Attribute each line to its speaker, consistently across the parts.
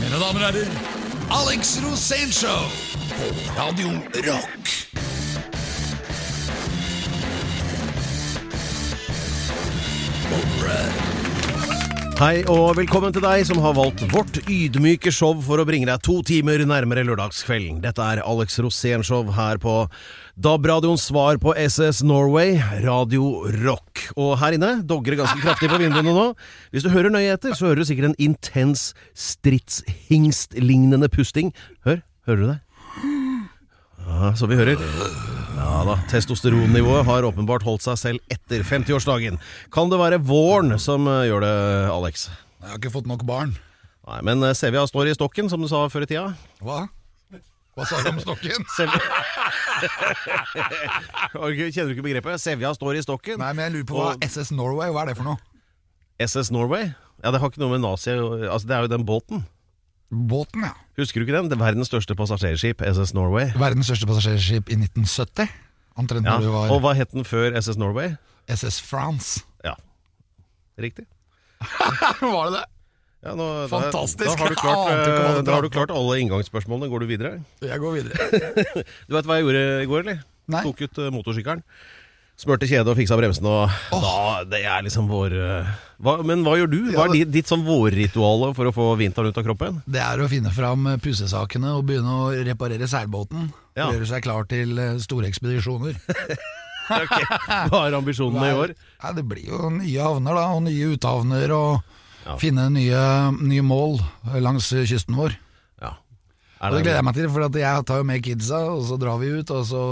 Speaker 1: Mine damer og herrer, Alex Rosénshow på Radio Rock.
Speaker 2: Hei og velkommen til deg som har valgt vårt ydmyke show for å bringe deg to timer nærmere lørdagskvelden. Dette er Alex Rosén-show her på DAB-radioens svar på SS Norway, Radio Rock. Og her inne dogger det ganske kraftig på vinduene nå. Hvis du hører nøye etter, så hører du sikkert en intens stridshingst-lignende pusting. Hør, hører du det? Ja, så vi hører. Ja da, testosteronnivået har åpenbart holdt seg selv etter 50-årsdagen. Kan det være våren som eh, gjør det, Alex?
Speaker 1: Jeg har ikke fått nok barn.
Speaker 2: Nei, men eh, Sevja står i stokken, som du sa før i tida.
Speaker 1: Hva? Hva sa du om stokken?
Speaker 2: Har du ikke- Ah, Kjenner du ikke begrepet? Sevja står i stokken.
Speaker 1: Nei, men jeg lurer på hva SS Norway, hva er det for noe?
Speaker 2: SS Norway? Ja, det har ikke noe med nazi Altså, det er jo den båten.
Speaker 1: Båten, ja.
Speaker 2: Husker du ikke den? Det verdens største passasjerskip, SS Norway.
Speaker 1: Verdens største passasjerskip i 1970. Omtrent
Speaker 2: Ja.
Speaker 1: når det
Speaker 2: Og
Speaker 1: var
Speaker 2: hva het den før SS Norway?
Speaker 1: SS France.
Speaker 2: Ja, riktig.
Speaker 1: var det det?
Speaker 2: Ja, nå, da-
Speaker 1: Fantastisk.
Speaker 2: Da har du
Speaker 1: Jeg
Speaker 2: klart,
Speaker 1: ante ikke hva
Speaker 2: eh,
Speaker 1: du
Speaker 2: da har du klart alle inngangsspørsmålene. Går du videre?
Speaker 1: Jeg går videre.
Speaker 2: Du veit hva jeg gjorde i går, eller?
Speaker 1: Nei.
Speaker 2: Tok ut eh, motorsykkelen. Smurte kjede og fiksa bremsen og da, Det er liksom vår eh, hva, Men hva gjør du? Hva er
Speaker 1: Ja,
Speaker 2: di- ditt sånn vårritual for å få vinteren ut av kroppen?
Speaker 1: Det er å finne fram eh, pusesakene og begynne å reparere seilbåten.
Speaker 2: Ja.
Speaker 1: Gjøre seg klar til eh, store ekspedisjoner.
Speaker 2: Ok, Hva er ambisjonene i år?
Speaker 1: Nei, det blir jo nye havner da, og nye uthavner, og finne nye, nye mål langs kysten vår.
Speaker 2: Ja.
Speaker 1: Og
Speaker 2: Er
Speaker 1: det
Speaker 2: det,
Speaker 1: gleder jeg meg til, for at jeg tar jo med kidsa, og så drar vi ut, og så,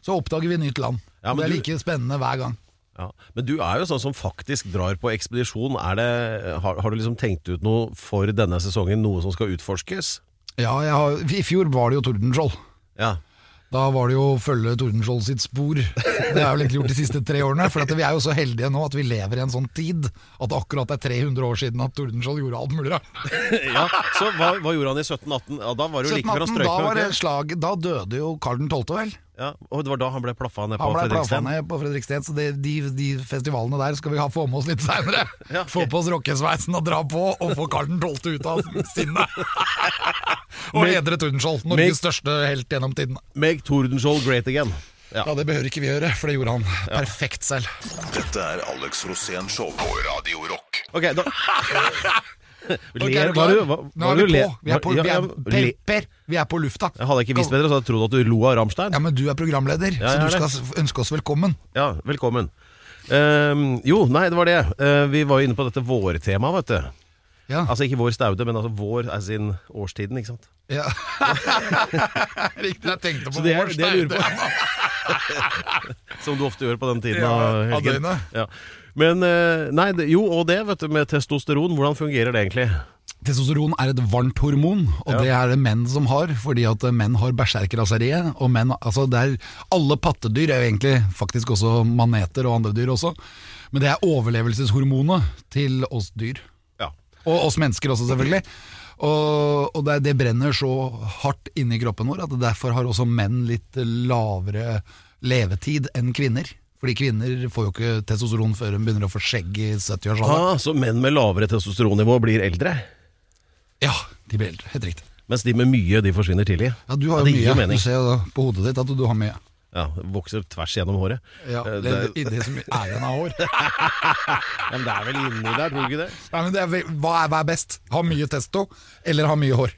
Speaker 1: så oppdager vi nytt land.
Speaker 2: Ja,
Speaker 1: Og
Speaker 2: men
Speaker 1: det er
Speaker 2: du-
Speaker 1: like spennende hver gang.
Speaker 2: ja. Men du er jo sånn som faktisk drar på ekspedisjon. Er det, har, har du liksom tenkt ut noe for denne sesongen? Noe som skal utforskes?
Speaker 1: Ja, jeg har, I fjor var det jo Tordenskjold.
Speaker 2: Ja.
Speaker 1: Da var det jo å følge Tordenskjold sitt spor. Det har jeg vel egentlig gjort de siste tre årene. For at vi er jo så heldige nå at vi lever i en sånn tid at det akkurat er 300 år siden at Tordenskjold gjorde alt mulig. rart.
Speaker 2: ja. Så hva, hva gjorde han i 1718? Ja, da var det jo like før
Speaker 1: 1718,
Speaker 2: han strøk
Speaker 1: da,
Speaker 2: med.
Speaker 1: var det
Speaker 2: ikke?
Speaker 1: slag, da døde jo Karl 12., vel?
Speaker 2: Ja. Og det var da han ble plaffa ned på
Speaker 1: Han ble plaffa
Speaker 2: Fredriksten?
Speaker 1: ned på Fredriksten, så det, de, de festivalene der skal vi ha, få med oss litt seinere.
Speaker 2: Ja, ok.
Speaker 1: Få på oss rockesveisen og dra på, og få Karl 12. ut av sinnet. og hedre Tordenskjold,
Speaker 2: Make-
Speaker 1: Norges største helt gjennom tiden.
Speaker 2: Make Tordenskjold great again. Ja.
Speaker 1: Ja, Det behøver ikke vi gjøre, for det gjorde han perfekt selv.
Speaker 3: Dette er Alex Rosén Show på Radio Rock.
Speaker 2: Ok, da
Speaker 1: Ok, er
Speaker 2: Ler
Speaker 1: du
Speaker 2: hva
Speaker 1: klar?
Speaker 2: du- hva-
Speaker 1: Nå
Speaker 2: hva
Speaker 1: er
Speaker 2: du
Speaker 1: vi
Speaker 2: le-
Speaker 1: på. Vi er på,
Speaker 2: hva-
Speaker 1: vi
Speaker 2: ja,
Speaker 1: er,
Speaker 2: ja,
Speaker 1: per,
Speaker 2: le-
Speaker 1: per, vi er på lufta.
Speaker 2: Jeg hadde ikke visst bedre, så hadde jeg trodd at du lo av Rammstein.
Speaker 1: Ja, Men du er programleder,
Speaker 2: Ja, jeg
Speaker 1: så
Speaker 2: er
Speaker 1: du skal s- ønske oss velkommen.
Speaker 2: Ja, velkommen. Ehm, jo, nei, det var det. Eh, vi var jo inne på dette vårtemaet, vet du.
Speaker 1: Ja,
Speaker 2: Altså ikke vår staude, men altså vår er sin årstiden, ikke sant.
Speaker 1: ja. Riktig, jeg tenkte på
Speaker 2: Så det er-
Speaker 1: vår
Speaker 2: det jeg lurer på.
Speaker 1: stein.
Speaker 2: Som du ofte gjør på den tiden
Speaker 1: Ja,
Speaker 2: av
Speaker 1: av
Speaker 2: helgen.
Speaker 1: døgnet.
Speaker 2: Ja. Men eh, nei, det, jo, og det, vet du, med testosteron, hvordan fungerer det egentlig?
Speaker 1: Testosteron er et varmt hormon, og det er det menn som har, fordi at menn har berserkerraseriet. Og menn, altså det er, alle pattedyr er jo egentlig faktisk også maneter og andre dyr også, men det er overlevelseshormonet til oss dyr.
Speaker 2: Ja.
Speaker 1: Og oss mennesker også, selvfølgelig. Og, og det, det brenner så hardt inni kroppen vår at derfor har også menn litt lavere levetid enn kvinner. Fordi kvinner får jo ikke testosteron før hun begynner å få skjegg i 70-årsalderen.
Speaker 2: Ah, så menn med lavere testosteronnivå blir eldre,
Speaker 1: Ja, de blir eldre. Helt riktig.
Speaker 2: mens de med mye, de forsvinner tidlig.
Speaker 1: Ja, du har jo
Speaker 2: det gir jo
Speaker 1: mye.
Speaker 2: mening.
Speaker 1: Du ser jo da på hodet ditt at du, du har mye.
Speaker 2: Ja, Vokser tvers gjennom håret.
Speaker 1: Ja,
Speaker 2: Eh,
Speaker 1: det,
Speaker 2: det-
Speaker 1: i det som er igjen av hår.
Speaker 2: Ja, men det er vel inni der, tror du ikke det?
Speaker 1: Nei, men det er, vel- hva er, hva er best? Ha mye testo, eller ha mye hår?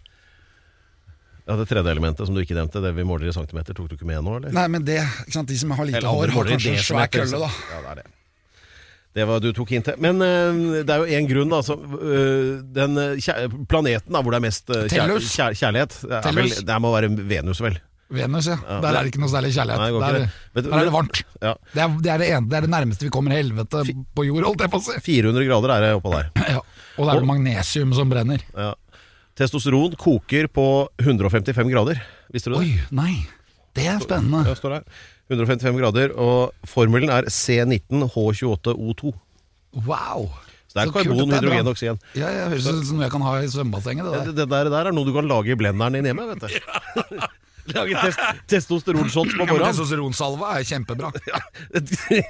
Speaker 2: Ja, Det tredje elementet som du ikke nevnte, det vi måler i centimeter, tok du ikke med nå, eller?
Speaker 1: Nei, men det, ikke sant, De som har lite
Speaker 2: eller
Speaker 1: hår,
Speaker 2: andre
Speaker 1: har
Speaker 2: måler i
Speaker 1: kanskje en svær
Speaker 2: desimeter,
Speaker 1: kølle, da.
Speaker 2: liksom. Ja, det er det. Det var du tok hintet. Men eh, det er jo én grunn, da. som, eh, den eh, kjær planeten da, hvor det er mest eh, kjær
Speaker 1: Tellus.
Speaker 2: kjær kjærlighet, det, er vel,
Speaker 1: Tellus.
Speaker 2: det må være Venus, vel?
Speaker 1: Venus, ja. Der er det ikke noe særlig kjærlighet.
Speaker 2: Nei, det går ikke
Speaker 1: der,
Speaker 2: det. Men-
Speaker 1: der er det varmt.
Speaker 2: Ja.
Speaker 1: Det, er, det, er det, ene, det er det nærmeste vi kommer helvete på jord, holdt jeg på å si.
Speaker 2: 400 grader er det oppå der.
Speaker 1: Ja. Og det er det magnesium som brenner.
Speaker 2: Ja. Testosteron koker på 155 grader. Visste du det?
Speaker 1: Oi, nei. Det er
Speaker 2: Ja,
Speaker 1: spennende.
Speaker 2: står det her. 155 grader, og formelen er C19H28O2.
Speaker 1: Wow.
Speaker 2: Så det er
Speaker 1: Så kult
Speaker 2: karbon,
Speaker 1: at det er bra.
Speaker 2: hydrogen, oksygen.
Speaker 1: Ja, ja, Høres ut som noe jeg kan ha i svømmebassenget. Det
Speaker 2: Det,
Speaker 1: der.
Speaker 2: det der, der er noe du kan lage i blenderen din hjemme, vet du. Lage tes testosteronshots
Speaker 1: Ja,
Speaker 2: på
Speaker 1: men
Speaker 2: morgenen.
Speaker 1: Testosteronsalve er kjempebra.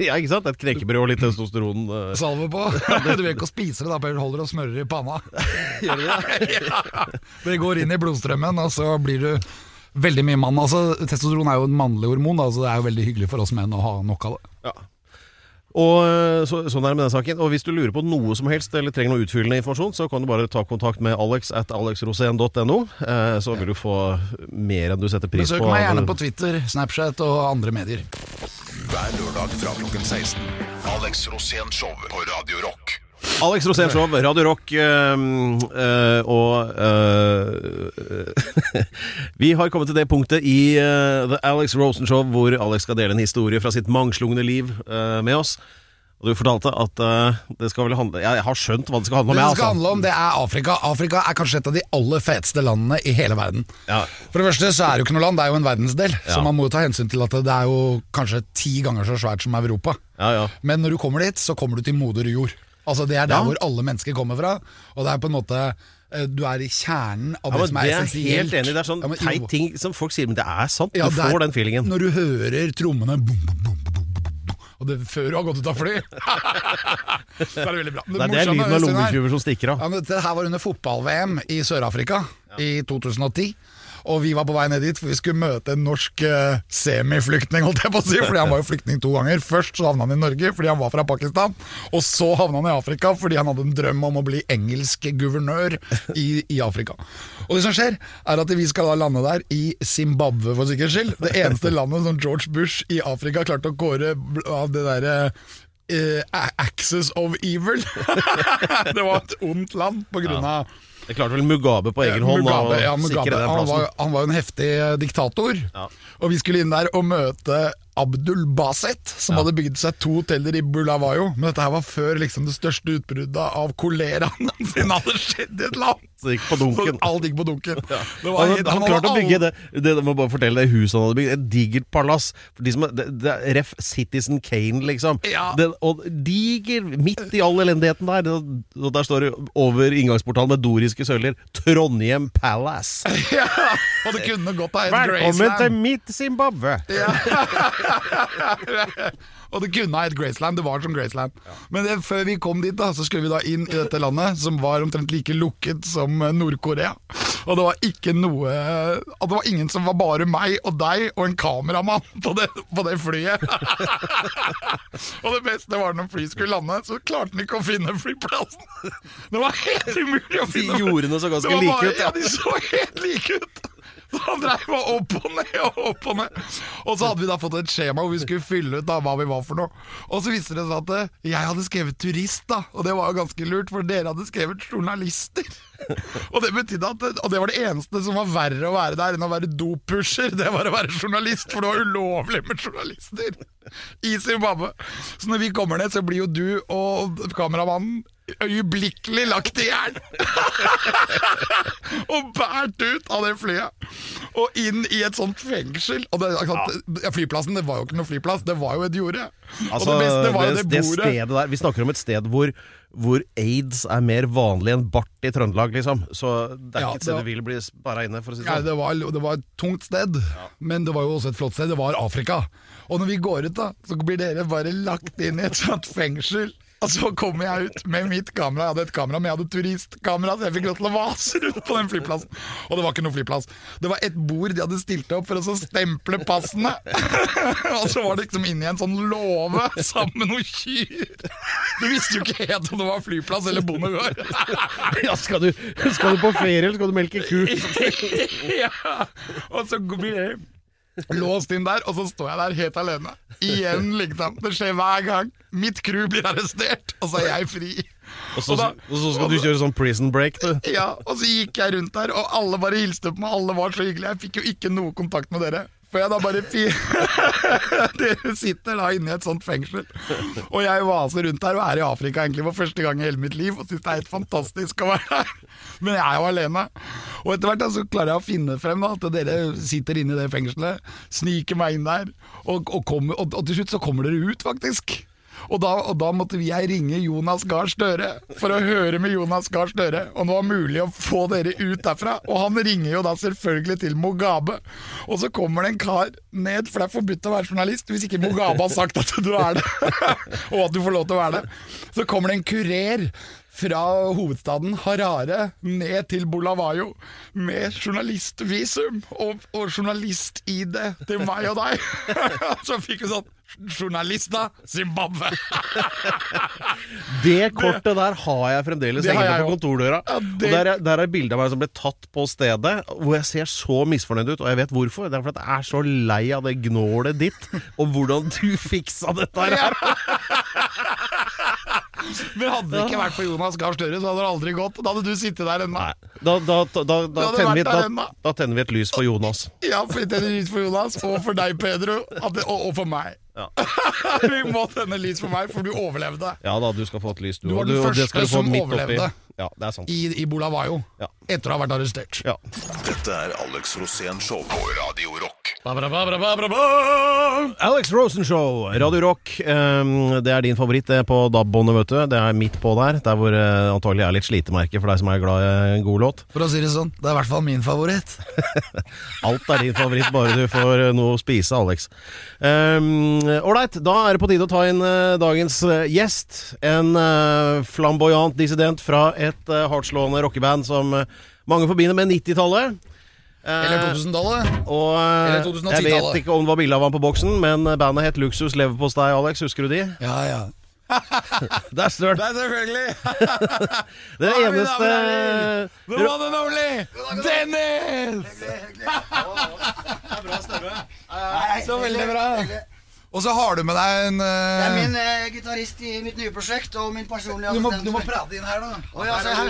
Speaker 2: ja, ikke sant? Et knekkebrød og litt testosteron. eh,
Speaker 1: Salve på. Du vil ikke å spise det, da, Per. Holder og smører i panna.
Speaker 2: Gjør det det?
Speaker 1: Det går inn i blodstrømmen, og så blir du veldig mye mann. Altså, testosteron er jo en mannlig hormon, da, så det er jo veldig hyggelig for oss menn å ha nok av det.
Speaker 2: Ja. Og eh, så, sånn er det med den saken. Og hvis du lurer på noe som helst eller trenger noe utfyllende informasjon, så kan du bare ta kontakt med alex at alexrosen.no, eh, så vil du få mer enn du setter pris
Speaker 1: Besøk
Speaker 2: på.
Speaker 1: meg gjerne på Twitter, Snapchat og andre medier.
Speaker 3: Hver lørdag fra klokken 16. Alex Rosén Show på Radio Rock.
Speaker 2: Alex Rosén Show, Radio Rock eh, eh, og eh, Vi har kommet til det punktet i eh, The Alex Rosen Show hvor Alex skal dele en historie fra sitt mangslungne liv eh, med oss. Og du fortalte at eh, det skal vel handle Jeg har skjønt hva det skal handle om.
Speaker 1: Det
Speaker 2: jeg,
Speaker 1: det skal
Speaker 2: altså.
Speaker 1: handle om, det er Afrika. Afrika er kanskje et av de aller feteste landene i hele verden.
Speaker 2: Ja.
Speaker 1: For det første så er det jo ikke noe land, det er jo en verdensdel. Så
Speaker 2: Ja.
Speaker 1: man må jo ta hensyn til at det er jo kanskje ti ganger så svært som Europa.
Speaker 2: Ja, ja.
Speaker 1: Men når du kommer dit, så kommer du til moder jord. Altså Det er der
Speaker 2: Ja.
Speaker 1: hvor alle mennesker kommer fra. Og det er på en måte eh, Du er i kjernen av det
Speaker 2: Ja, men
Speaker 1: som er
Speaker 2: det er jeg
Speaker 1: essensielt.
Speaker 2: helt enig i. Det er sånn
Speaker 1: Ja, men-
Speaker 2: teit ting som folk sier, men det er sant. Du
Speaker 1: Ja, det er-
Speaker 2: får den feelingen.
Speaker 1: Når du hører trommene bom, bom, bom, bom, bom, bom, Og det før du har gått ut av fly. så er det veldig bra.
Speaker 2: Det er det
Speaker 1: morsomme
Speaker 2: lyden av
Speaker 1: Øystein, her-
Speaker 2: lommetyver som stikker av.
Speaker 1: Ja, men dette her var under fotball-VM i Sør-Afrika i 2010. Og vi var på vei ned dit, for vi skulle møte en norsk eh, semiflyktning, holdt jeg på å si. Fordi han var jo flyktning to ganger. Først så havna han i Norge fordi han var fra Pakistan. Og så havna han i Afrika fordi han hadde en drøm om å bli engelsk guvernør i, i Afrika. Og det som skjer, er at vi skal da lande der i Zimbabwe, for sikkerhets skyld. Det eneste landet som George Bush i Afrika klarte å kåre av det derre eh, A- Axis of Evil. det var et ondt land på grunn av
Speaker 2: Det klarte vel Mugabe på egen hånd å
Speaker 1: Mugabe, ja,
Speaker 2: sikre
Speaker 1: Mugabe.
Speaker 2: den
Speaker 1: Han, var,
Speaker 2: plassen.
Speaker 1: han var jo en heftig eh, diktator.
Speaker 2: Ja.
Speaker 1: Og vi skulle inn der og møte Abdul Baset, som hadde bygd seg to hoteller i Bulawayo. Men dette her var før liksom, det største utbruddet av koleraen sin hadde skjedd i et land.
Speaker 2: Så gikk på dunken.
Speaker 1: Så alt gikk på dunken. Det var
Speaker 2: Han,
Speaker 1: helt-
Speaker 2: han
Speaker 1: hadde
Speaker 2: klarte å
Speaker 1: alle-
Speaker 2: bygge det, det jeg må bare fortelle det huset han hadde bygd. Et digert palass. For de som, er- det, det er ref Citizen Kane, liksom.
Speaker 1: Ja.
Speaker 2: Det, og diger, midt i all elendigheten der. det- Og der står det over inngangsportalen med doriske søyler 'Trondheim Palace'.
Speaker 1: Ja, og det kunne gått av et
Speaker 2: Velkommen
Speaker 1: Graceland.
Speaker 2: til mitt Zimbabwe!
Speaker 1: Og det kunne ha hett Graceland, det var som Graceland. Men det, før vi kom dit, da, så skulle vi da inn i dette landet som var omtrent like lukket som eh, Nord-Korea. Og det var ikke noe at Det var ingen som var bare meg og deg og en kameramann på det, på det flyet. og det beste var når flyet skulle lande, så klarte den ikke å finne flyplassen. Det var helt umulig å
Speaker 2: De
Speaker 1: finne
Speaker 2: jordene så ganske
Speaker 1: Det var
Speaker 2: like
Speaker 1: bare-
Speaker 2: ut, ja.
Speaker 1: Ja, de så helt like ut. Så han dreiv og opp og ned og opp og ned. Og så hadde vi da fått et skjema hvor vi skulle fylle ut da hva vi var for noe. Og så viste det seg at eh, jeg hadde skrevet turist, da. Og det var jo ganske lurt, for dere hadde skrevet journalister. Og det betydde at Og det var det eneste som var verre å være der enn å være dopusher. Det var å være journalist, for det var ulovlig med journalister i Zimbabwe. Så når vi kommer ned, så blir jo du og kameramannen øyeblikkelig lagt i jern og bært ut av det flyet. Og inn i et sånt fengsel. Og det, ja. Flyplassen det var jo ikke noe flyplass, det var jo et jorde. og
Speaker 2: Altså,
Speaker 1: det
Speaker 2: det,
Speaker 1: beste var jo
Speaker 2: det,
Speaker 1: det, bordet.
Speaker 2: stedet der Vi snakker om et sted hvor, hvor aids er mer vanlig enn bart i Trøndelag, liksom. Så det er
Speaker 1: Ja,
Speaker 2: ikke et
Speaker 1: det
Speaker 2: sted
Speaker 1: var-
Speaker 2: du vil bli sperra inne, for å si
Speaker 1: Ja,
Speaker 2: det sånn.
Speaker 1: det, var, det var et tungt sted, men det var jo også et flott sted. Det var Afrika. Og når vi går ut, da, så blir dere bare lagt inn i et sånt fengsel. Og så kommer jeg ut med mitt kamera. Jeg hadde et kamera, men jeg hadde turistkamera, så jeg fikk lov til å vase rundt på den flyplassen. Og det var ikke noe flyplass. Det var et bord de hadde stilt opp for å så stemple passene. og så var det liksom inne i en sånn låve sammen med noen kyr. Du visste jo ikke helt om det var flyplass eller bondegård.
Speaker 2: Ja, skal, du, skal du på ferie, eller skal du melke ku?
Speaker 1: ja. Og så blir det låst inn der, og så står jeg der helt alene. Igjen, liksom. Det skjer hver gang. Mitt crew blir arrestert, og så er jeg fri.
Speaker 2: Og så,
Speaker 1: Og da-
Speaker 2: og så skal du kjøre sånn prison break, du.
Speaker 1: Ja, Og så gikk jeg rundt der, og alle bare hilste på meg. Alle var så hyggelige. Jeg fikk jo ikke noe kontakt med dere. For jeg da bare fi... Dere sitter da inne i et sånt fengsel. Og jeg vaser rundt der og er i Afrika egentlig for første gang i hele mitt liv og syns det er helt fantastisk å være der. Men jeg er jo alene. Og etter hvert da, så klarer jeg å finne frem da, at dere sitter inne i det fengselet, sniker meg inn der, og, og, kommer, og, og til slutt så kommer dere ut, faktisk. Og da, og da måtte jeg ringe Jonas Gahr Støre for å høre med Jonas Gahr Støre om det var mulig å få dere ut derfra. Og han ringer jo da selvfølgelig til Mugabe. Og så kommer det en kar ned, for det er forbudt å være journalist hvis ikke Mugabe har sagt at du er det, og at du får lov til å være det. Så kommer det en kurer fra hovedstaden Harare ned til Bulawayo med journalistvisum og, og journalist-ID til meg og deg. Så fikk vi sånn Journalista Zimbabwe!
Speaker 2: Det kortet der har jeg fremdeles
Speaker 1: Det har
Speaker 2: hengende
Speaker 1: jeg
Speaker 2: på
Speaker 1: jo.
Speaker 2: kontordøra.
Speaker 1: Ja,
Speaker 2: Og
Speaker 1: det-
Speaker 2: Der, er- der er bilde av meg som ble tatt på stedet, hvor jeg ser så misfornøyd ut. Og jeg vet hvorfor. Det er fordi jeg er så lei av det gnålet ditt, og hvordan du fiksa dette her.
Speaker 1: Men hadde det ikke vært for Jonas Gahr Støre, så hadde det aldri gått. Da hadde du sittet der ennå.
Speaker 2: Nei. Da, da, da, da,
Speaker 1: hadde
Speaker 2: tenner vi,
Speaker 1: vært der
Speaker 2: da,
Speaker 1: ennå.
Speaker 2: da tenner vi et lys for Jonas.
Speaker 1: Ja, for det er lys for Jonas, og for deg, Pedro, at det, og, og for meg.
Speaker 2: Ja.
Speaker 1: Vi må tenne lys for meg, for du overlevde
Speaker 2: Ja da, du skal få et lys, du.
Speaker 1: Du var
Speaker 2: og
Speaker 1: den
Speaker 2: og det
Speaker 1: første
Speaker 2: skal du få
Speaker 1: som
Speaker 2: midt oppi.
Speaker 1: overlevde.
Speaker 2: Ja, det er sant.
Speaker 1: i, i Bulawayo
Speaker 2: Ja.
Speaker 1: etter å ha vært arrestert.
Speaker 2: Ja.
Speaker 3: Dette er Alex Rosén Show på Radio Rock.
Speaker 2: Alex Rosenshow, Radio Rock. Ehm, det er din favoritt det på DAB-båndet, vet du. Det er midt på der. Der hvor det antagelig er litt slitemerke for deg som er glad i en god låt.
Speaker 1: For å si det sånn, det er i hvert fall min favoritt.
Speaker 2: Alt er din favoritt, bare du får eh, noe å spise, Alex. Ålreit, da er det på tide å ta inn eh, dagens eh, gjest. En eh, flamboyant dissident fra et eh, hardtslående rockeband som eh, mange forbinder med 90-tallet. Eh,
Speaker 1: Eller 2000-tallet.
Speaker 2: og eh,
Speaker 1: eller
Speaker 2: jeg
Speaker 1: 2010-tallet.
Speaker 2: vet ikke om det var bilde av ham på boksen, men eh, bandet het Luksus Leverpostei, Alex. Husker du de?
Speaker 1: Ja, ja.
Speaker 2: Det er størt.
Speaker 1: Det er selvfølgelig
Speaker 2: Det
Speaker 1: er vi,
Speaker 2: eneste
Speaker 1: damer the one and only Dennis! Så veldig bra. Og så har du med deg en
Speaker 4: Det er
Speaker 1: eh,
Speaker 4: min eh, gitarist i mitt nye prosjekt og min personlige
Speaker 1: du, må,
Speaker 4: assistent.
Speaker 1: du må prate inn her, da.
Speaker 4: Å, ja, se her.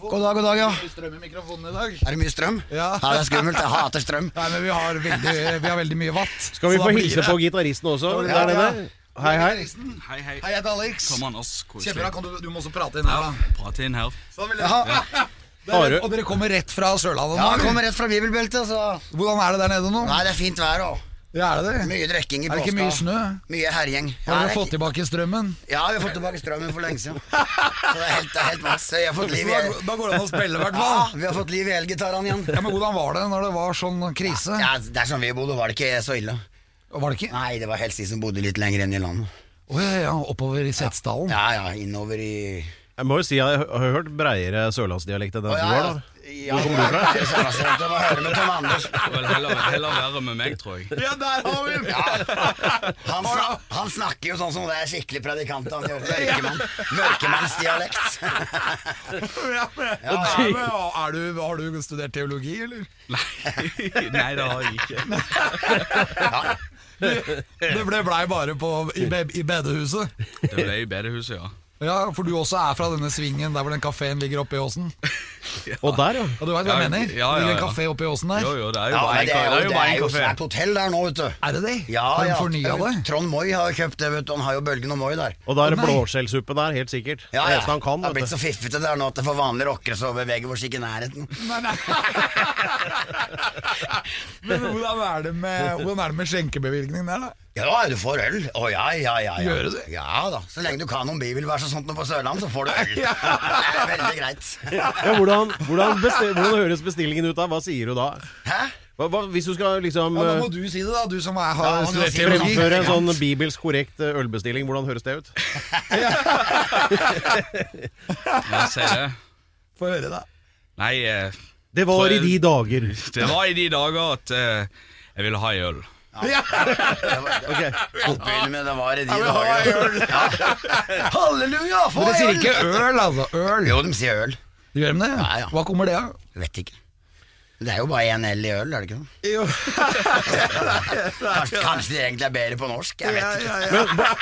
Speaker 1: God dag, god dag, ja. Strøm i mikrofonen i dag.
Speaker 4: Er det mye strøm?
Speaker 1: Ja.
Speaker 4: ja, det er skummelt. Jeg hater strøm.
Speaker 1: Nei, men vi har veldig, vi har veldig mye vatt.
Speaker 2: Skal vi
Speaker 1: så
Speaker 2: få
Speaker 1: da blir
Speaker 2: hilse
Speaker 1: det-
Speaker 2: på gitaristen også?
Speaker 1: blir
Speaker 2: Der
Speaker 1: det, ja.
Speaker 2: nede. Hei, hei.
Speaker 5: Hei, hei.
Speaker 1: Hei, jeg heter Alex.
Speaker 5: Kom an, oss.
Speaker 1: Kjempebra.
Speaker 5: Koselig.
Speaker 1: Kan du, du må også prate inn her, da.
Speaker 5: Prate inn her.
Speaker 1: Sånn vil jeg ha.
Speaker 2: Har
Speaker 1: Dere,
Speaker 2: du-
Speaker 1: og dere kommer rett fra Sørlandet nå?
Speaker 4: Ja, jeg kommer rett fra bibelbeltet, så
Speaker 1: Hvordan er det der nede nå?
Speaker 4: Nei, det er fint vær og
Speaker 1: Ja, er det det?
Speaker 4: mye drikking i
Speaker 1: Er det
Speaker 4: påska.
Speaker 1: ikke mye snø?
Speaker 4: Mye herjing.
Speaker 1: Har
Speaker 4: det
Speaker 1: dere
Speaker 4: er
Speaker 1: fått
Speaker 4: ikke-
Speaker 1: tilbake strømmen?
Speaker 4: Ja, vi har fått tilbake strømmen for lenge siden. Så det er helt, det er helt masse. Jeg har fått liv i
Speaker 1: Da, da går det an å spille, i Ah. hvert
Speaker 4: ja,
Speaker 1: fall.
Speaker 4: vi har fått liv i elgitarene igjen.
Speaker 1: Ja, men hvordan var det når det var sånn krise?
Speaker 4: Ja, der som vi bodde, var det ikke så ille.
Speaker 1: Var det ikke?
Speaker 4: Nei, det var helst de som bodde litt lenger inn i landet.
Speaker 1: Å ja, ja, oppover i Setesdalen.
Speaker 4: Ja ja, innover i
Speaker 2: Jeg må jo si jeg har hørt breiere sørlandsdialekt enn den du har, da.
Speaker 4: Ja, Hvor kommer du fra? Jeg må høre med Tom Anders.
Speaker 5: Det vil heller, heller være med meg, tror jeg.
Speaker 1: Ja, der har vi den!
Speaker 4: Han, sna han snakker jo sånn som det er skikkelig predikant. Han gjør mørkemann. Mørkemannsdialekt.
Speaker 1: Ja, men, er du, har du studert teologi, eller?
Speaker 5: Nei, Nei det har jeg ikke.
Speaker 1: Det ble blei bare på, i, be, i bedehuset.
Speaker 5: Det ble i bedehuset, ja.
Speaker 1: Ja, For du også er fra denne svingen der hvor den kafeen ligger oppe i åsen?
Speaker 2: Og der, ja.
Speaker 1: Ja, du veit hva jeg
Speaker 5: Ja,
Speaker 1: mener?
Speaker 5: ja, ja,
Speaker 1: Ligger en
Speaker 5: ja.
Speaker 1: kafé oppe i åsen der?
Speaker 5: Jo, jo, det er jo
Speaker 4: Ja,
Speaker 5: bare
Speaker 4: men
Speaker 5: en
Speaker 4: det
Speaker 5: ka-
Speaker 4: er jo,
Speaker 5: det er jo
Speaker 4: det
Speaker 5: bare
Speaker 4: er
Speaker 5: en
Speaker 4: jo
Speaker 5: kafé.
Speaker 4: svært hotell der nå, vet du.
Speaker 1: Er det det?
Speaker 4: Ja,
Speaker 1: har de
Speaker 4: ja.
Speaker 1: fornya det?
Speaker 4: Trond Moi har jo kjøpt det, vet du. Han har jo Bølgen og Moi der.
Speaker 2: Og da er det
Speaker 1: Å, nei.
Speaker 2: blåskjellsuppe der, helt sikkert. Det
Speaker 4: Ja, ja.
Speaker 2: eneste han kan.
Speaker 4: det har blitt
Speaker 2: Vet du.
Speaker 4: så fiffete der nå at det for vanlige rockere så beveger vi oss ikke i nærheten.
Speaker 1: Men hvordan er det med, hvordan er det med skjenkebevilgningen der, da?
Speaker 4: Ja, du får øl. Å ja, ja, ja. ja.
Speaker 1: Gjør du det?
Speaker 4: Ja da. Så lenge du kan om bibelvers og sånt nå på Sørlandet, så får du øl. Det er veldig greit.
Speaker 2: Ja, hvordan, hvordan, besti- hvordan høres bestillingen ut da? Hva sier du da?
Speaker 4: Hæ?
Speaker 2: Hva, hva, hvis du skal liksom
Speaker 1: Ja, da
Speaker 2: eh,
Speaker 1: må du si det, da, du som er, har
Speaker 4: Ja, han
Speaker 1: studert
Speaker 4: må si det.
Speaker 1: teologi.
Speaker 2: fremføre en sånn bibelsk korrekt eh, ølbestilling, hvordan høres det ut?
Speaker 5: Ja, si det.
Speaker 1: Få høre, da.
Speaker 5: Nei, eh,
Speaker 2: Det var i de dager.
Speaker 5: det var i de dager at eh, jeg ville ha en øl.
Speaker 4: Det var, det,
Speaker 2: Ok.
Speaker 4: Begynn med det var i de
Speaker 1: men ha
Speaker 4: dager. Ja. Halleluja! få
Speaker 1: Dere sier
Speaker 4: øl!
Speaker 1: ikke øl, altså. Øl.
Speaker 4: Jo, de sier øl.
Speaker 1: Gjør de det?
Speaker 4: Ja, ja.
Speaker 1: Hva kommer det av?
Speaker 4: Vet ikke. Det er jo bare én L i øl, er det ikke det?
Speaker 1: Jo.
Speaker 4: Kanskje, kanskje de egentlig er bedre på norsk? Jeg vet ikke.
Speaker 2: Men, ba-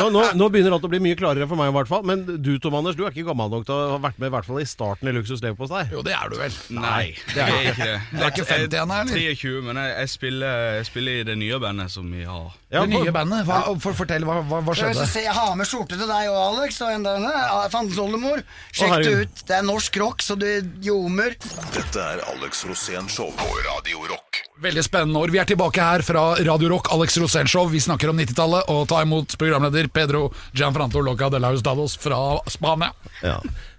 Speaker 2: nå, nå, nå begynner alt å bli mye klarere for meg, i hvert fall. Men du Tom Anders, du er ikke gammel nok til å ha vært med i hvert fall i starten i Luksus Leverpostei.
Speaker 1: Jo, det er du vel.
Speaker 5: Nei, det er jeg ikke det.
Speaker 1: Du er ikke 50 igjen, eller?
Speaker 5: 23, men jeg, jeg, spiller, jeg spiller i det nye bandet som vi har.
Speaker 2: Ja,
Speaker 1: det
Speaker 2: for-
Speaker 1: nye bandet. Hva, for, fortell, hva, hva, hva
Speaker 4: Jeg,
Speaker 1: skjedde?
Speaker 4: se, jeg har med skjorte til deg og Alex og enda henne. Fandens oldemor. Sjekk det
Speaker 2: herregud.
Speaker 4: ut. Det er norsk rock, så du ljomer.
Speaker 3: Dette er Alex Alex Rosén Show på Radio Rock.
Speaker 1: Veldig spennende år. Vi er tilbake her fra Radio Rock, Alex Rosénshow. Vi snakker om 90-tallet, og ta imot programleder Pedro Gianfranto Loca de la Hustados fra Spania.
Speaker 2: Ja.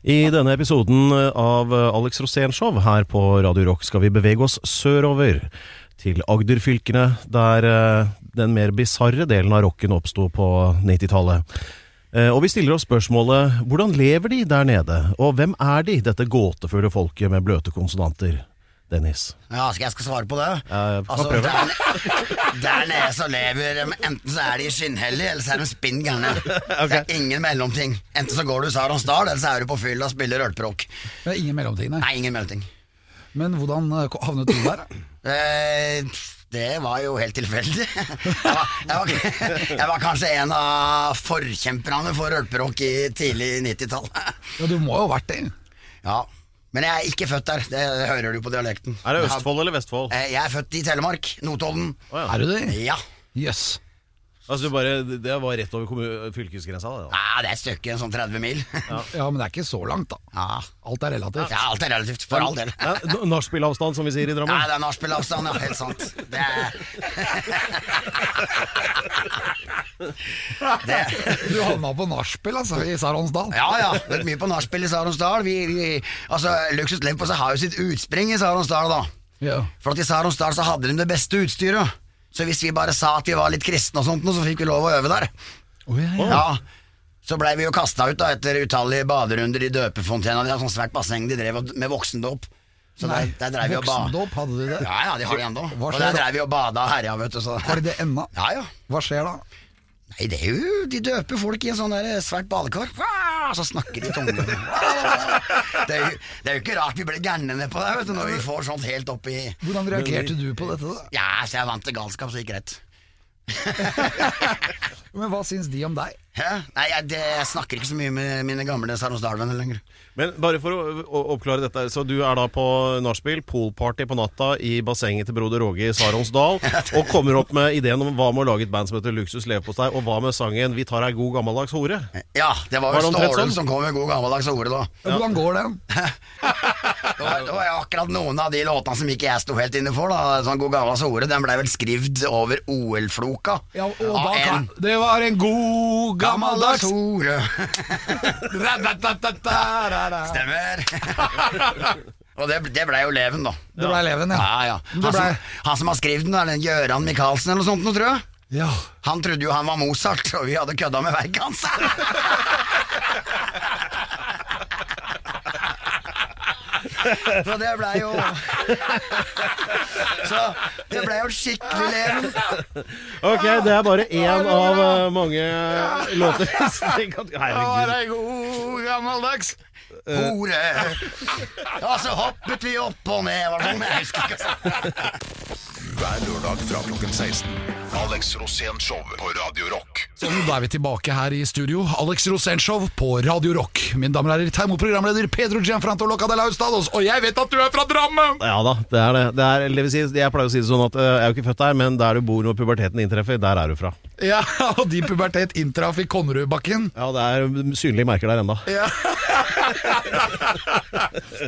Speaker 2: I denne episoden eh, av Alex Rosénshow her på Radio Rock skal vi bevege oss sørover. Til Agder-fylkene, der eh, den mer bisarre delen av rocken oppsto på 90-tallet. Eh, Og vi stiller oss spørsmålet hvordan lever de der nede, og hvem er de, dette gåtefulle folket med bløte konsonanter? Dennis.
Speaker 4: Ja, skal jeg skal svare på det?
Speaker 2: Ja, få
Speaker 4: altså,
Speaker 2: Eh, prøve.
Speaker 4: der, der nede så lever de Enten så er de skinnhellige, eller så er de spinn gærne. Det er ingen mellomting. Enten så går du Saronsdal, eller så er du på fylla og spiller ølpråk.
Speaker 1: Det er ingen mellomting, nei.
Speaker 4: Nei, ingen mellomting.
Speaker 1: Men hvordan eh, havnet du der?
Speaker 4: Eh, det var jo helt tilfeldig. Jeg var, jeg var, jeg var kanskje en av forkjemperne for ølpråk i tidlig 90-tall.
Speaker 1: Ja, Du må jo ha vært det.
Speaker 4: Ja. Men jeg er ikke født der, det hører du på dialekten.
Speaker 2: Er det Østfold eller Vestfold?
Speaker 4: Eh, Jeg er født i Telemark, Notodden.
Speaker 1: Er du det?
Speaker 4: Ja.
Speaker 1: Jøss.
Speaker 2: Altså du bare, Det var rett over kommu- fylkesgrensa? Det, da.
Speaker 4: Nei, det er et stykke, sånn 30 mil.
Speaker 1: Yes. Ja, men det er ikke så langt, da.
Speaker 4: Ja.
Speaker 1: Alt er relativt.
Speaker 4: ja, alt er relativt, for all del.
Speaker 2: Ja, n- Nachspielavstand, som vi sier i
Speaker 4: Nei,
Speaker 2: Drammen.
Speaker 4: det er nachspielavstand, ja. Helt sant. Det er det.
Speaker 1: Du havna på nachspiel, altså, i Saronsdal.
Speaker 4: Ja, ja. Vært mye på nachspiel i Saronsdal. Vi, vi, altså, Luksus Lempos har jo sitt utspring i Saronsdal, da.
Speaker 1: Ja.
Speaker 4: For at i Saronsdal så hadde de det beste utstyret. Så hvis vi bare sa at vi var litt kristne og sånt, nå, så fikk vi lov å øve der.
Speaker 1: Å, ja, ja.
Speaker 4: Ja, så blei vi jo kasta ut da etter utallige baderunder i døpefontena. De har sånn svært basseng de drev og- med voksendåp. Så der, der drev vi og ba.
Speaker 1: Voksendåp, hadde de det?
Speaker 4: Ja, ja, de har det ennå.
Speaker 1: Hva
Speaker 4: Og
Speaker 1: skjer
Speaker 4: der
Speaker 1: da?
Speaker 4: drev vi og bada og herja, vet du. Så.
Speaker 1: Har de det ennå?
Speaker 4: Ja, ja.
Speaker 1: Hva skjer da?
Speaker 4: Nei, det er jo De døper folk i en sånn der svært badekar. Wow, Så snakker de tunge. Wow. Det, er jo- det er jo ikke rart vi blir gærne nedpå der, vet du, når vi får sånt helt opp i
Speaker 1: Hvordan reagerte du på dette? da?
Speaker 4: Ja, så jeg vant til galskap, så det gikk greit.
Speaker 1: Men Hva syns de om deg?
Speaker 4: Hæ? Nei, jeg, det, jeg snakker ikke så mye med mine gamle Saronsdalvenner lenger.
Speaker 2: Men bare for å å- oppklare dette, her, så du er da på nachspiel, poolparty på natta i bassenget til broder Åge i Saronsdal, og kommer opp med ideen om hva med å lage et band som heter Luksus leverpostei, og hva med sangen 'Vi tar ei god gammeldags hore'?
Speaker 4: Ja, det var
Speaker 2: Var det
Speaker 4: jo
Speaker 2: omtrent
Speaker 4: Stålen
Speaker 2: sånn?
Speaker 4: som kom med god gammeldags ordet da.
Speaker 1: Hvordan går den?
Speaker 4: Det var, det var jo akkurat noen av de låtene som ikke jeg sto helt inne for. da Sånn God gamlas ordet, den blei vel skrivd over OL-floka.
Speaker 1: Ja, og
Speaker 4: Av
Speaker 1: da
Speaker 4: en
Speaker 1: kan... Det var en god
Speaker 4: Gammeldags
Speaker 1: gammeldags
Speaker 4: ordet.
Speaker 1: Det
Speaker 4: Stemmer. Og det, det blei jo Leven, da.
Speaker 1: ble Leven, ja.
Speaker 4: Ja, ja.
Speaker 1: Men
Speaker 4: Han,
Speaker 1: Det ble...
Speaker 4: som, han som har skrevet den, er den Gøran Michaelsen eller noe sånt, nå, tror jeg.
Speaker 1: Ja.
Speaker 4: Han trodde jo han var Mozart, og vi hadde kødda med verket hans. Så det blei jo Så det blei jo skikkelig leven.
Speaker 2: Ok, det er bare én av eh, mange låter. Tenk at- Herregud.
Speaker 4: ei god gammeldags hore. Ja, så hoppet vi opp og ned, var det sånn? Jeg husker ikke. altså.
Speaker 3: Hver lørdag fra klokken 16. Alex Rosén Show på Radio Rock.
Speaker 1: Sånn, da er vi tilbake her i studio. Alex Rosénshow på Radio Rock. Mine damer og herrer, ta imot programleder Pedro Gianfranto Loca de la Hustados. Og jeg vet at du er fra Drammen!
Speaker 2: Ja da, det er det. det er, eller det vil si, jeg pleier å si det sånn at eh, jeg er jo ikke født der, men der du bor når puberteten inntreffer, der er du fra.
Speaker 1: Ja, og din pubertet inntraff i Konnerudbakken.
Speaker 2: Ja, det er mm, synlige merker der enda.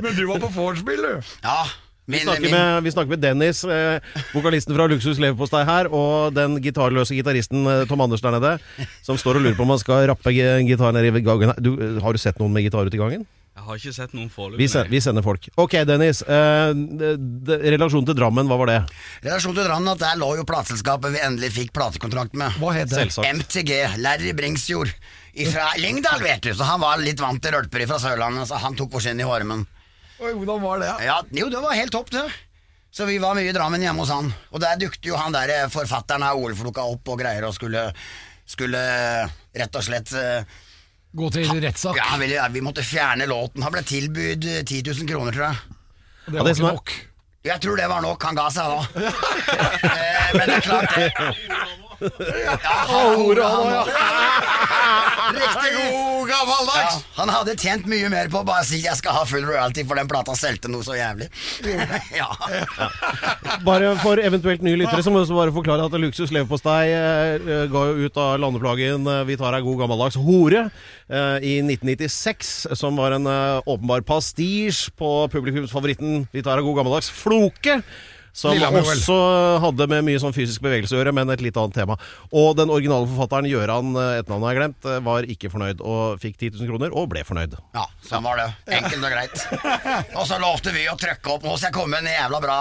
Speaker 1: Men du var på vorspiel, du.
Speaker 4: Ja, min,
Speaker 2: snakker
Speaker 4: min,
Speaker 2: med, vi snakker med Dennis, eh, vokalisten fra Luksus Leverpostei her, og den gitarløse gitaristen eh, Tom Anders der nede, som står og lurer på om han skal rappe gi- gitar nede i gangen. her. Du, eh, har du sett noen med gitar ute i gangen?
Speaker 5: Jeg har ikke sett noen
Speaker 2: Vi,
Speaker 5: foreløpig.
Speaker 2: sen, vi sender folk. Ok, Dennis. Eh, d- d- relasjonen til Drammen, hva var det?
Speaker 4: relasjon til Drammen at der lå jo plateselskapet vi endelig fikk platekontrakt med.
Speaker 1: Hva het det?
Speaker 2: Selvsagt.
Speaker 4: MTG, Larry Bringsjord fra Lyngdal, vet du. Så han var litt vant til rølper fra Sørlandet, så han tok oss inn i varmen.
Speaker 1: Oi, hvordan var det?
Speaker 4: Ja, jo, det var helt topp, det. Så vi var mye i Drammen hjemme hos han. Og der dukte jo han der eh, forfatteren av Olfloka opp og greier og skulle, skulle eh, rett og slett eh,
Speaker 1: Gå til rettssak.
Speaker 4: Ja, han ville, vi måtte fjerne låten. Han ble tilbudt eh, 10 000 kroner, tror jeg.
Speaker 1: Det
Speaker 2: Ja,
Speaker 1: var
Speaker 2: det som
Speaker 1: ikke
Speaker 2: er-
Speaker 1: nok.
Speaker 4: Jeg tror det var nok. Han ga seg da. Eh, Men det er klart, det. Hora, Riktig god!
Speaker 2: God
Speaker 4: Ja,
Speaker 2: gammeldags!
Speaker 4: han hadde tjent mye mer på å bare si 'jeg skal ha full royalty', for den plata solgte noe så jævlig. ja.
Speaker 2: Bare for eventuelt nye lyttere, så må vi også bare forklare at Luksus leverpostei eh, ga jo ut av landeplagen eh, 'Vi tar ei god gammeldags hore' eh, i 1996, som var en eh, åpenbar pastisj på publikumsfavoritten 'Vi tar ei god gammeldags floke'. Som
Speaker 1: Lillehammer, vel.
Speaker 2: også hadde med mye sånn fysisk bevegelse å gjøre, men et litt annet tema. Og den originale forfatteren, Gjøran, eh, et navn har jeg glemt, eh, var ikke fornøyd og fikk 10 000 kroner, og ble fornøyd.
Speaker 4: ja, sånn var det. Enkelt og greit. Og så lovte vi å trøkke opp. Nå skal jeg komme med en jævla bra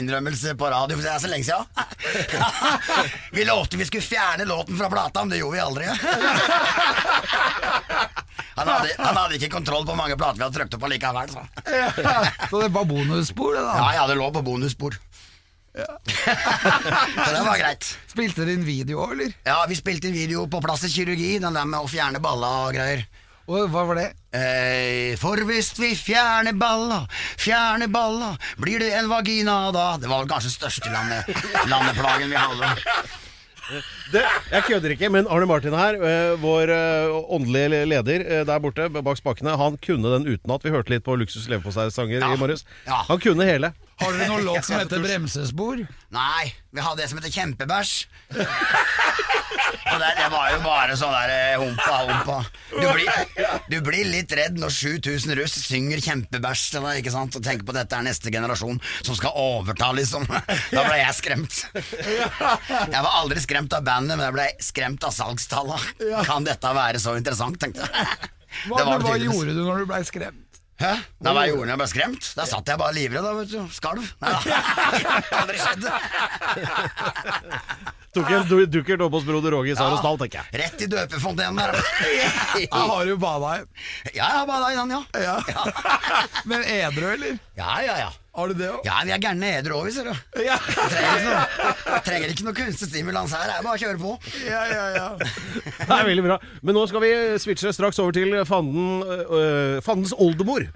Speaker 4: innrømmelse på radio, for det er så lenge siden. vi lovte vi skulle fjerne låten fra plata, men det gjorde vi aldri. han, hadde, han hadde ikke kontroll på hvor mange plater vi hadde trøkt opp allikevel, så.
Speaker 1: Så det var bonusspor, det da.
Speaker 4: Ja, ja, det lå på bonusspor. så det var greit.
Speaker 1: Spilte dere inn video òg, eller?
Speaker 4: Ja, vi spilte en video på plass i kirurgi, den der med å fjerne balla og greier.
Speaker 1: Og hva var det?
Speaker 4: Eh, for hvis vi fjerner balla, fjerner balla, blir det en vagina da? Det var vel kanskje den største lande, landeplagen vi hadde.
Speaker 2: Det, jeg kødder ikke, men Arne Martin her, eh, vår eh, åndelige leder eh, der borte bak spakene, han kunne den utenat. Vi hørte litt på Luksus leverpostei-sanger
Speaker 4: Ja.
Speaker 2: i morges.
Speaker 4: Ja.
Speaker 2: Han kunne hele.
Speaker 1: Har dere noen låt som heter Bremsespor?
Speaker 4: Nei, vi hadde det som heter kjempebæsj. Og det, det var jo bare sånn der eh, humpa, humpa. Du blir, du blir litt redd når 7000 russ synger kjempebæsj til deg, ikke sant? Og tenker på at dette er neste generasjon som skal overta, liksom. Da ble jeg skremt. Jeg var aldri skremt av bandet, men jeg ble skremt av salgstalla. Kan dette være så interessant, tenkte jeg.
Speaker 1: Hva,
Speaker 4: Det
Speaker 1: men
Speaker 4: var det
Speaker 1: hva
Speaker 4: tydeligvis.
Speaker 1: gjorde du når du blei skremt?
Speaker 4: Hæ? Da var jeg gjorde jeg ble skremt. Da satt jeg bare livredd, da, vet du. Skalv. Nei, da. Aldri skjedd.
Speaker 2: Tok en du- dukkert opp hos broder Roger i Sarosdal, tenker jeg.
Speaker 4: Rett i døpefontenen der.
Speaker 1: Jeg har jo bada i.
Speaker 4: Ja, jeg har bada i den, ja.
Speaker 1: Ja. Men edru, eller?
Speaker 4: Ja, ja, ja.
Speaker 1: Har du det òg?
Speaker 4: Ja, vi er gærne edru òg, vi, ser du.
Speaker 1: Ja.
Speaker 4: Jeg Trenger ikke noe, jeg trenger ikke noe kunstig stimulans her, det er bare å kjøre på.
Speaker 1: ja, ja, ja.
Speaker 2: Det er veldig bra. Men nå skal vi eh, switche straks over til fanden, øh, fandens oldemor.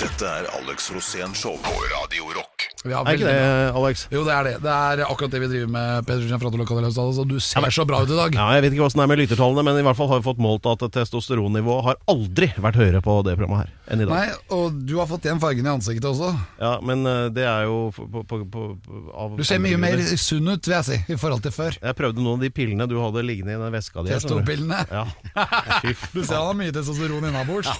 Speaker 3: Dette er Alex Rosén Show på Radio Rock.
Speaker 1: Vi har
Speaker 2: Er ikke
Speaker 1: veldig-
Speaker 2: det, Alex?
Speaker 1: Jo, det er det. Det er akkurat det vi driver med, Peder Kristian Fratto Lokal Løvstad. Altså, du ser så bra ut i dag.
Speaker 2: Ja, jeg vet ikke hvordan det er med lyttertallene, men i hvert fall har vi fått målt at testosteronnivået har aldri vært høyere på det programmet her enn i dag.
Speaker 1: Nei, og du har fått igjen fargen i ansiktet også.
Speaker 2: Ja, men øh, det er jo f- på, på, på, av
Speaker 1: Du ser mye mer sunn ut, vil jeg si, i forhold til før.
Speaker 2: Jeg prøvde noen av de pillene du hadde liggende i den veska di. her, skjønner du.
Speaker 1: Testopillene.
Speaker 2: Ja. Fy faen.
Speaker 1: Du ser han har mye testosteron innabords.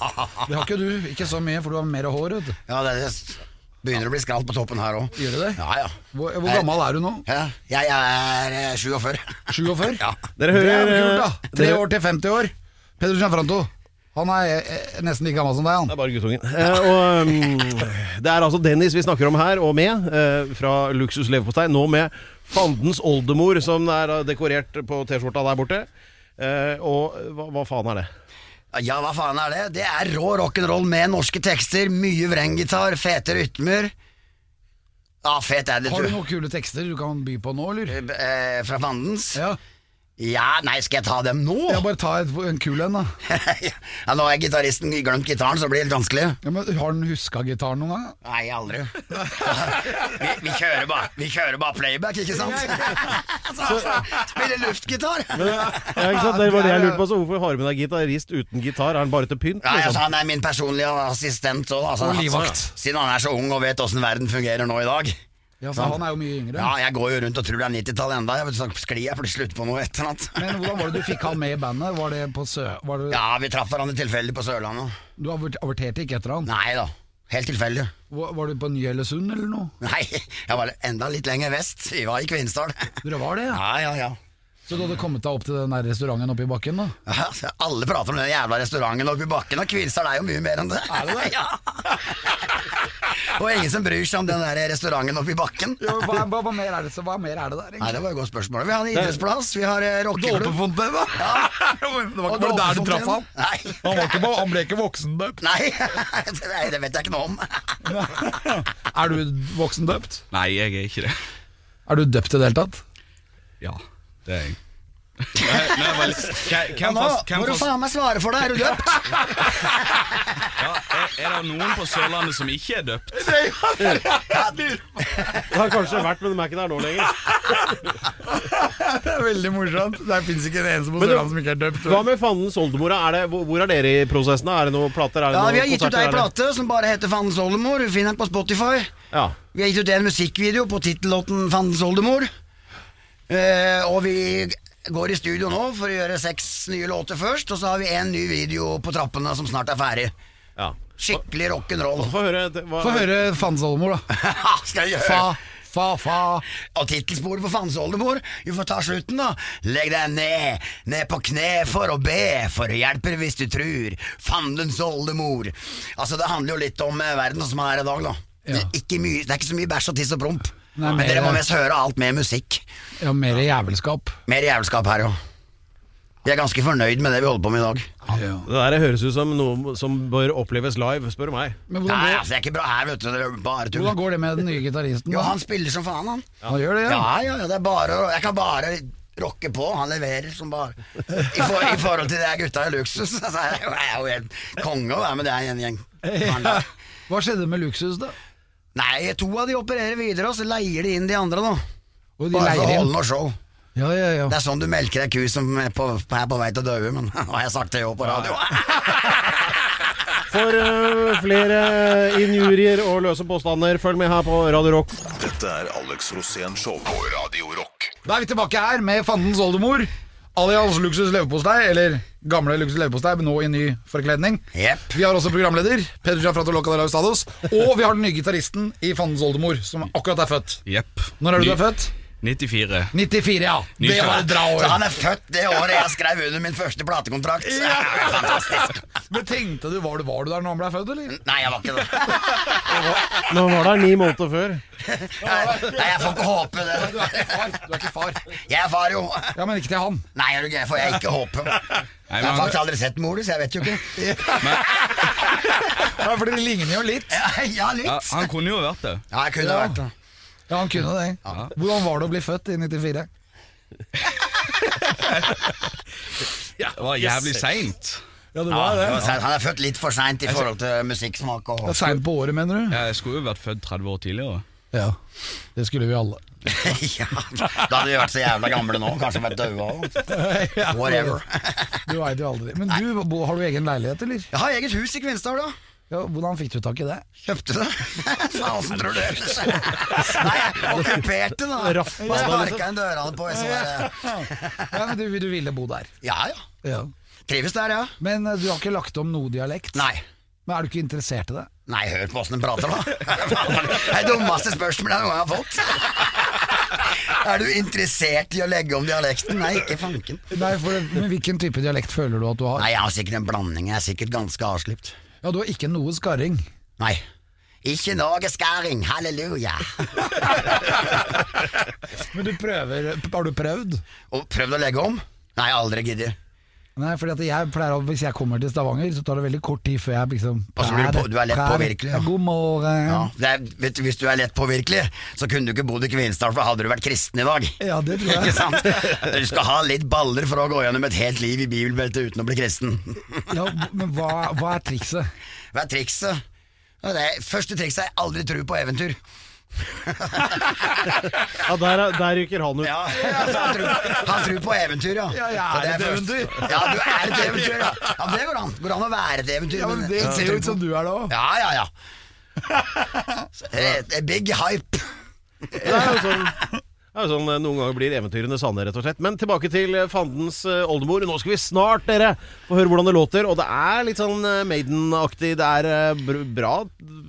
Speaker 1: Det har ikke du. Ikke så mye, for du har mer hår. Vet. du.
Speaker 4: Ja, det er det. Begynner å bli skralt på toppen her òg.
Speaker 1: Gjør du det?
Speaker 4: Ja, ja.
Speaker 1: Hvor, hvor gammel er du nå?
Speaker 4: ja. Jeg er eh, 47.
Speaker 1: 47?
Speaker 4: Ja.
Speaker 1: Det er
Speaker 2: Dere hører
Speaker 1: jo
Speaker 2: eh,
Speaker 1: kult, da. Tre
Speaker 2: dere-
Speaker 1: år til 50 år. Peder Gianfranto, han er eh, nesten like gammel som deg,
Speaker 2: Det
Speaker 1: han.
Speaker 2: er bare guttungen. Eh, og, mm, det er altså Dennis vi snakker om her, og med, eh, fra Luksus leverpostei. Nå med fandens oldemor, som er eh, dekorert på T-skjorta der borte. Eh, og hva, hva faen er det?
Speaker 4: Ja, hva faen er det? Det er rå rock'n'roll med norske tekster, mye vrenggitar, fete rytmer. Ja, fet er det,
Speaker 1: Har du
Speaker 4: du.
Speaker 1: noen kule tekster du kan by på nå, eller?
Speaker 4: Eh, fra Fandens?
Speaker 1: Ja,
Speaker 4: Ja, nei, skal jeg ta dem nå?
Speaker 1: ja bare ta et, en kul en, da.
Speaker 4: ja, nå har gitaristen glemt gitaren, så det blir helt vanskelig.
Speaker 1: Ja, men Har han huska gitaren noen gang? da?
Speaker 4: Nei, aldri. vi, vi, kjører bare, vi kjører bare playback, ikke sant? Så- altså, Spiller luftgitar.
Speaker 1: eh,
Speaker 2: Ja, ikke sant? Det var det jeg lurte på, så Hvorfor har du med deg gitarist uten gitar? Er han bare til pynt?
Speaker 4: Nei, altså,
Speaker 2: Liksom?
Speaker 4: han er min personlige assistent òg. Altså,
Speaker 1: Og
Speaker 4: han-
Speaker 1: livvakt.
Speaker 4: Siden han er så ung og vet åssen verden fungerer nå i dag.
Speaker 1: Ja, for Han er jo mye yngre.
Speaker 4: Ja, Jeg går jo rundt og tror det er 90-tallet enda jeg vet, så sklir jeg plutselig ut på noe et eller annet.
Speaker 1: Men hvordan var det du fikk han med i bandet? Var det på Sø... Var det,
Speaker 4: Ja, vi traff hverandre tilfeldig på Sørlandet.
Speaker 1: Du avert- averterte ikke etter han?
Speaker 4: Nei da. Helt tilfeldig.
Speaker 1: Var var du på Ny-Hellesund eller noe?
Speaker 4: Nei, jeg var enda litt lenger vest. Vi var i Kvinesdal.
Speaker 1: Dere var det, ja?
Speaker 4: Ja, ja, ja.
Speaker 1: Så du hadde kommet deg opp til den der restauranten oppe i bakken, da?
Speaker 4: Ja, Alle prater om den jævla restauranten oppe i bakken, og Kvilsdal er jo mye mer enn det. Er det det? Ja. og ingen som bryr seg om den der restauranten oppe i bakken.
Speaker 1: Ja, men hva, hva, hva, mer er det, så, hva mer er det der,
Speaker 4: Nei,
Speaker 1: egentlig?
Speaker 4: det var et godt spørsmål. Vi har en idrettsplass, vi har eh, rockeklubb.
Speaker 1: Dåpefonten, da? det var
Speaker 4: Og
Speaker 1: ikke bare der du traff han?
Speaker 4: Dåpefontenen. Nei.
Speaker 1: Han, var ikke, bare- han ble ikke voksendøpt?
Speaker 4: Nei, Nei, det vet jeg ikke noe om.
Speaker 1: Er du voksendøpt?
Speaker 5: Nei, jeg er ikke det.
Speaker 1: Er du døpt i det hele tatt?
Speaker 5: Ja, det er jeg. Nei, nei, vel, hvem- hvem
Speaker 4: Nå
Speaker 5: fas- hvem
Speaker 4: må du
Speaker 5: fas-
Speaker 4: faen meg svare for det, er du døpt?
Speaker 5: Ja, er, er det noen på Sørlandet som ikke er døpt?
Speaker 2: Det har kanskje vært, men de er ikke der nå lenger.
Speaker 1: Det er veldig morsomt. Der fins ikke en eneste på
Speaker 2: Men du-
Speaker 1: Sørlandet som ikke er døpt.
Speaker 2: Hva med Fandens oldemora? Er det, hvor- hvor er dere i prosessen? da? Er det noen plater? Er det
Speaker 4: Ja,
Speaker 2: noen
Speaker 4: vi har gitt ut
Speaker 2: konserter?
Speaker 4: ei
Speaker 2: Er det-
Speaker 4: plate som bare heter Fandens oldemor. Du finner den på Spotify.
Speaker 2: Ja.
Speaker 4: Vi har gitt ut en musikkvideo på tittellåten Fandens oldemor. Eh, og vi går i studio nå for å gjøre seks nye låter først, og så har vi en ny video på trappene som snart er ferdig.
Speaker 2: ja.
Speaker 4: Skikkelig rock'n'roll.
Speaker 2: Få høre. det- Hva,
Speaker 1: Få høre Fandens oldemor, da.
Speaker 4: Skal jeg gjøre
Speaker 1: Fa, fa, fa.
Speaker 4: Og tittelsporet på Fandens oldemor, vi får ta slutten, da. Legg deg ned, ned på kne for å be, for det hjelper hvis du trur. Fandens oldemor. Altså, det handler jo litt om eh, verden som er i dag, da.
Speaker 1: Ja.
Speaker 4: Det, er ikke mye, det er ikke så mye bæsj og tiss og promp.
Speaker 1: Nei,
Speaker 4: men
Speaker 1: mer-
Speaker 4: dere må mest høre alt med musikk.
Speaker 1: Ja, mer jævelskap.
Speaker 4: Mer jævelskap her, jo. Jeg er ganske fornøyd med det vi holder på med i dag.
Speaker 1: Ja.
Speaker 2: Det der høres ut som noe som bør oppleves live, spør du meg.
Speaker 1: Men
Speaker 4: Nei,
Speaker 1: hvordan går,
Speaker 4: altså, det er ikke bra her, vet du. Det er bare tull.
Speaker 1: hvordan går det med den nye gitaristen?
Speaker 4: Jo,
Speaker 1: da?
Speaker 4: han spiller som faen, han.
Speaker 1: Han gjør det, ja.
Speaker 4: Ja, ja, ja, det er bare å- Jeg kan bare rocke på. Han leverer som bare I, for, i forhold til de her gutta i luksus. Så er jeg jo- jeg er jo helt konge å være med det er en gjeng. mann der.
Speaker 1: Hva skjedde med Luksus, da?
Speaker 4: Nei, to av de opererer videre, og så leier de inn de andre, da.
Speaker 1: Og de
Speaker 4: Bare for å
Speaker 1: leier
Speaker 4: holde
Speaker 1: inn.
Speaker 4: noe show.
Speaker 1: Ja, ja, ja.
Speaker 4: Det er sånn du melker ei ku som er på, på, er på vei til å daue, men har jeg sagt det jo på radio?
Speaker 2: For øh, flere injurier og løse påstander, følg med her på Radio Rock.
Speaker 3: Dette er Alex Rosén Show på Radio Rock.
Speaker 1: Da er vi tilbake her med Fandens oldemor. Allians Luksus leverpostei, eller gamle Luksus leverpostei, men nå i ny forkledning.
Speaker 4: Jepp.
Speaker 1: Vi har også programleder, Peder Giafrato Loca de Laustados. Og vi har den nye gitaristen i Fandens oldemor, som akkurat er født.
Speaker 5: Jepp.
Speaker 1: Når er det du
Speaker 5: Ny-
Speaker 1: er født?
Speaker 5: 94.
Speaker 1: 94, ja. Det
Speaker 5: Nyfødt.
Speaker 1: var et bra
Speaker 4: Så
Speaker 1: år.
Speaker 4: han er født det året jeg skrev under min første platekontrakt. Fantastisk.
Speaker 1: Men tenkte du, var du, var du der når han ble født, eller?
Speaker 4: Nei, jeg var ikke det.
Speaker 2: Men han var der ni måneder før.
Speaker 4: Nei, jeg får ikke håpe
Speaker 1: Du er
Speaker 4: det.
Speaker 1: ikke far. Du er ikke far.
Speaker 4: Jeg er far, jo.
Speaker 1: Ja, men ikke til han.
Speaker 4: Nei, er du gæren, får jeg ikke håpe. Jeg har
Speaker 5: men-
Speaker 4: faktisk aldri sett Molus, jeg vet jo ikke.
Speaker 1: Ja, for de ligner jo litt.
Speaker 4: Ja,
Speaker 5: Ja,
Speaker 4: litt.
Speaker 5: han kunne jo vært det.
Speaker 4: Ja, jeg kunne vært det.
Speaker 1: Ja, han kunne det. Hvordan var det å bli født i 94?
Speaker 5: Det var jævlig seint.
Speaker 1: Ja, det
Speaker 4: Ja, det var sent. Han er født litt for seint i forhold til musikksmak og
Speaker 1: Det er Seint på året, mener du?
Speaker 5: Jeg skulle jo vært født 30 år tidligere.
Speaker 1: Ja. Det skulle vi alle.
Speaker 4: Ja, Da hadde vi vært så jævla gamle nå, kanskje vært daua òg. Whatever.
Speaker 1: Du veit jo aldri. Men du, bo- har du egen leilighet, eller?
Speaker 4: Jeg har eget hus i Kvinesdal, da.
Speaker 1: Ja, hvordan fikk du tak i det?
Speaker 4: Kjøpte det. Faen, åssen tror du det ellers? Nei, jeg okkuperte det. da. liksom?
Speaker 2: Rappa
Speaker 4: Jeg
Speaker 2: det,
Speaker 4: sparka inn dørene på, så bare
Speaker 1: Ja, men du, du ville bo der.
Speaker 4: Ja ja.
Speaker 1: Ja.
Speaker 4: Trives der, ja.
Speaker 1: Men eh, du har ikke lagt om noe dialekt?
Speaker 4: Nei.
Speaker 1: Men er du ikke interessert i det?
Speaker 4: Nei, hør på åssen den prater, da. Det er det dummeste spørsmålet jeg noen gang har fått. Er du interessert i å legge om dialekten? Nei, ikke fanken.
Speaker 1: Nei, for, men Hvilken type dialekt føler du at du har?
Speaker 4: Nei, jeg har sikkert en blanding. Jeg er sikkert ganske avslipt.
Speaker 1: Ja, Du har ikke noe skarring.
Speaker 4: Nei. Ikke noe skæring, halleluja.
Speaker 1: Men du prøver Har du prøvd?
Speaker 4: Og prøvd å legge om? Nei, aldri giddet.
Speaker 1: Nei, fordi at jeg pleier å- Hvis jeg kommer til Stavanger, så tar det veldig kort tid før jeg liksom
Speaker 4: Og så blir du på- du er lett påvirkelig, ja.
Speaker 1: Ja. God morgen.
Speaker 4: Ja,
Speaker 1: Ja.
Speaker 4: det er, vet du, hvis du er lett påvirkelig, så kunne du ikke bodd i Kvinesdal, for hadde du vært kristen i dag.
Speaker 1: det tror
Speaker 4: Ikke
Speaker 1: jeg.
Speaker 4: sant? Du skal ha litt baller for å gå gjennom et helt liv i bibelbeltet uten å bli kristen.
Speaker 1: Ja, men hva, hva er trikset?
Speaker 4: Hva er trikset? Ja, Det er, første trikset er aldri tro på eventyr.
Speaker 2: Ja, der, er- der ryker han ut.
Speaker 4: Ja, altså, han, tror, han tror på eventyr, ja.
Speaker 1: Ja, jeg
Speaker 4: Så
Speaker 1: er et
Speaker 4: først.
Speaker 1: eventyr.
Speaker 4: Ja, du er et eventyr, ja. ja men det går an. Går an å være et eventyr.
Speaker 1: Ja, men Det
Speaker 4: ikke
Speaker 1: ser
Speaker 4: tro
Speaker 1: jo ut som
Speaker 4: på.
Speaker 1: du er det òg.
Speaker 4: Ja, ja, ja. Så, eh, det er Big hype.
Speaker 2: Det er jo sånn, det er jo sånn eh, noen ganger blir eventyrene sanne, rett og slett. Men tilbake til eh, fandens eh, oldemor. Nå skal vi snart, dere, få høre hvordan det låter. Og det er litt sånn eh, Maiden-aktig. Det er eh, br- bra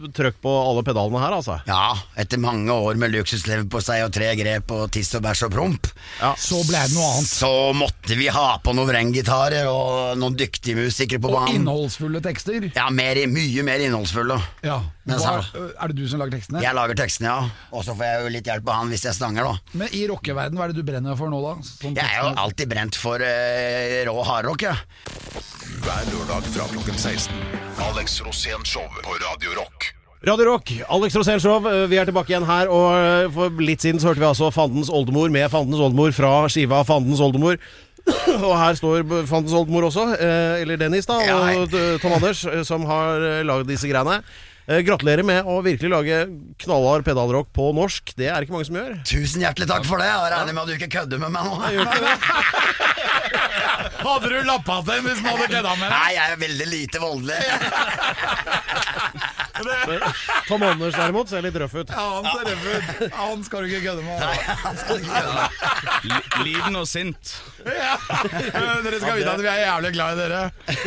Speaker 2: trøkk på alle pedalene her, altså.
Speaker 4: Ja, etter mange år med luksuslever på seg og tre grep og tiss og bæsj og promp,
Speaker 1: Så ble det noe annet.
Speaker 4: så måtte vi ha på noen vrenggitarer og noen dyktige musikere på
Speaker 1: Og
Speaker 4: banen.
Speaker 1: innholdsfulle tekster.
Speaker 4: Ja, mer, mye mer innholdsfulle.
Speaker 1: Ja.
Speaker 4: Men altså-
Speaker 1: Hva, eh,
Speaker 4: så-
Speaker 1: er det du som lager tekstene?
Speaker 4: Jeg lager tekstene, ja. Og så får jeg jo litt hjelp av han hvis jeg stanger, da.
Speaker 1: Men i rockeverden, hva er det du brenner for nå, da? Sånn
Speaker 4: Jeg er jo
Speaker 1: tekstene-
Speaker 4: alltid brent for eh, rå hardrock, jeg. Ja.
Speaker 3: Hver lørdag fra klokken 16. Alex Rosén Show på Radio Rock.
Speaker 2: Radio Rock, Alex Rosénshow, vi er tilbake igjen her. eh, Og eh, for litt siden så hørte vi altså Fandens oldemor med Fandens oldemor fra skiva Fandens oldemor. Og her står Fantens oldemor også, eh, eller Dennis da,
Speaker 4: Ja, hei.
Speaker 2: og eh, Tom Anders, eh, som har eh, lagd disse greiene. Eh, Gratulerer med å virkelig lage knallhard pedalrock på norsk. Det er det ikke mange som gjør.
Speaker 4: Tusen hjertelig takk for det. Jeg regner med at du ikke kødder med meg nå.
Speaker 1: Hadde du lappa til hvis den hadde kødda med
Speaker 4: Nei, jeg er veldig lite voldelig.
Speaker 2: Tom Anders derimot ser litt røff ut.
Speaker 1: Ja, han ser røff ut. Han skal du ikke kødde med. altså.
Speaker 5: Li- Liten og sint.
Speaker 1: Eh, Dere skal vite at vi er jævlig glad i dere.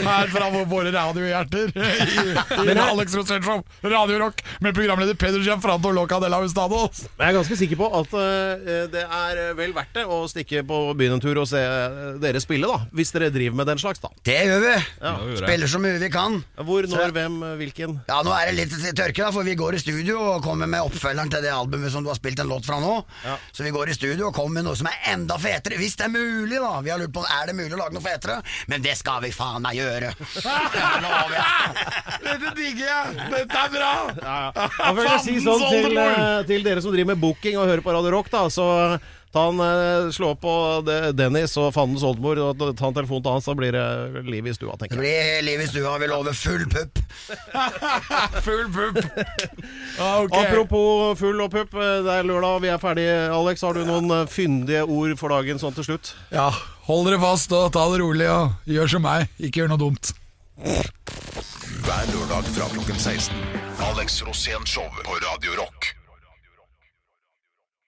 Speaker 1: Her fra våre radiohjerter i, i Alex Rosén Show, Radio Rock, med programleder Peder Gianfranto Loca de la Hustados.
Speaker 2: Men jeg er ganske sikker på at eh, det er eh, vel verdt det å stikke på byen en tur og se eh, dere spille, da. Hvis dere driver med den slags, da.
Speaker 4: Det gjør vi.
Speaker 5: Nå gjorde jeg.
Speaker 4: Spiller så mye vi kan.
Speaker 2: Hvor, når, hvem, eh, hvilken?
Speaker 4: Ja, Nå er det litt tørke, da, for vi går i studio og kommer med oppfølgeren til det albumet som du har spilt en låt fra nå. Så vi går i studio og kommer med noe som er enda fetere, hvis det er mulig, da. Vi har lurt på er det mulig å lage noe fetere, men det skal vi faen meg gjøre. Det lover jeg.
Speaker 1: Dette digger jeg! Dette er bra!
Speaker 2: Da får jeg si sånn til, eh, til dere som driver med booking og hører på Radio Rock, da. Så ta en, eh, slå på de- Dennis og Fandens oldemor og ta ta en telefon til hans, så blir det liv i stua,
Speaker 4: Det
Speaker 2: tenker jeg.
Speaker 4: blir liv i stua, vi lover full pupp.
Speaker 1: Full pupp. Ah, Ok.
Speaker 2: Apropos full og pupp, eh, det er lørdag, og vi er ferdige. Alex, har du noen eh, fyndige ord for dagen sånn til slutt?
Speaker 1: Ja, hold dere fast og ta det rolig, og gjør som meg. Ikke gjør noe dumt.
Speaker 3: Hver lørdag fra klokken 16. Alex Rosén Show på Radio Rock.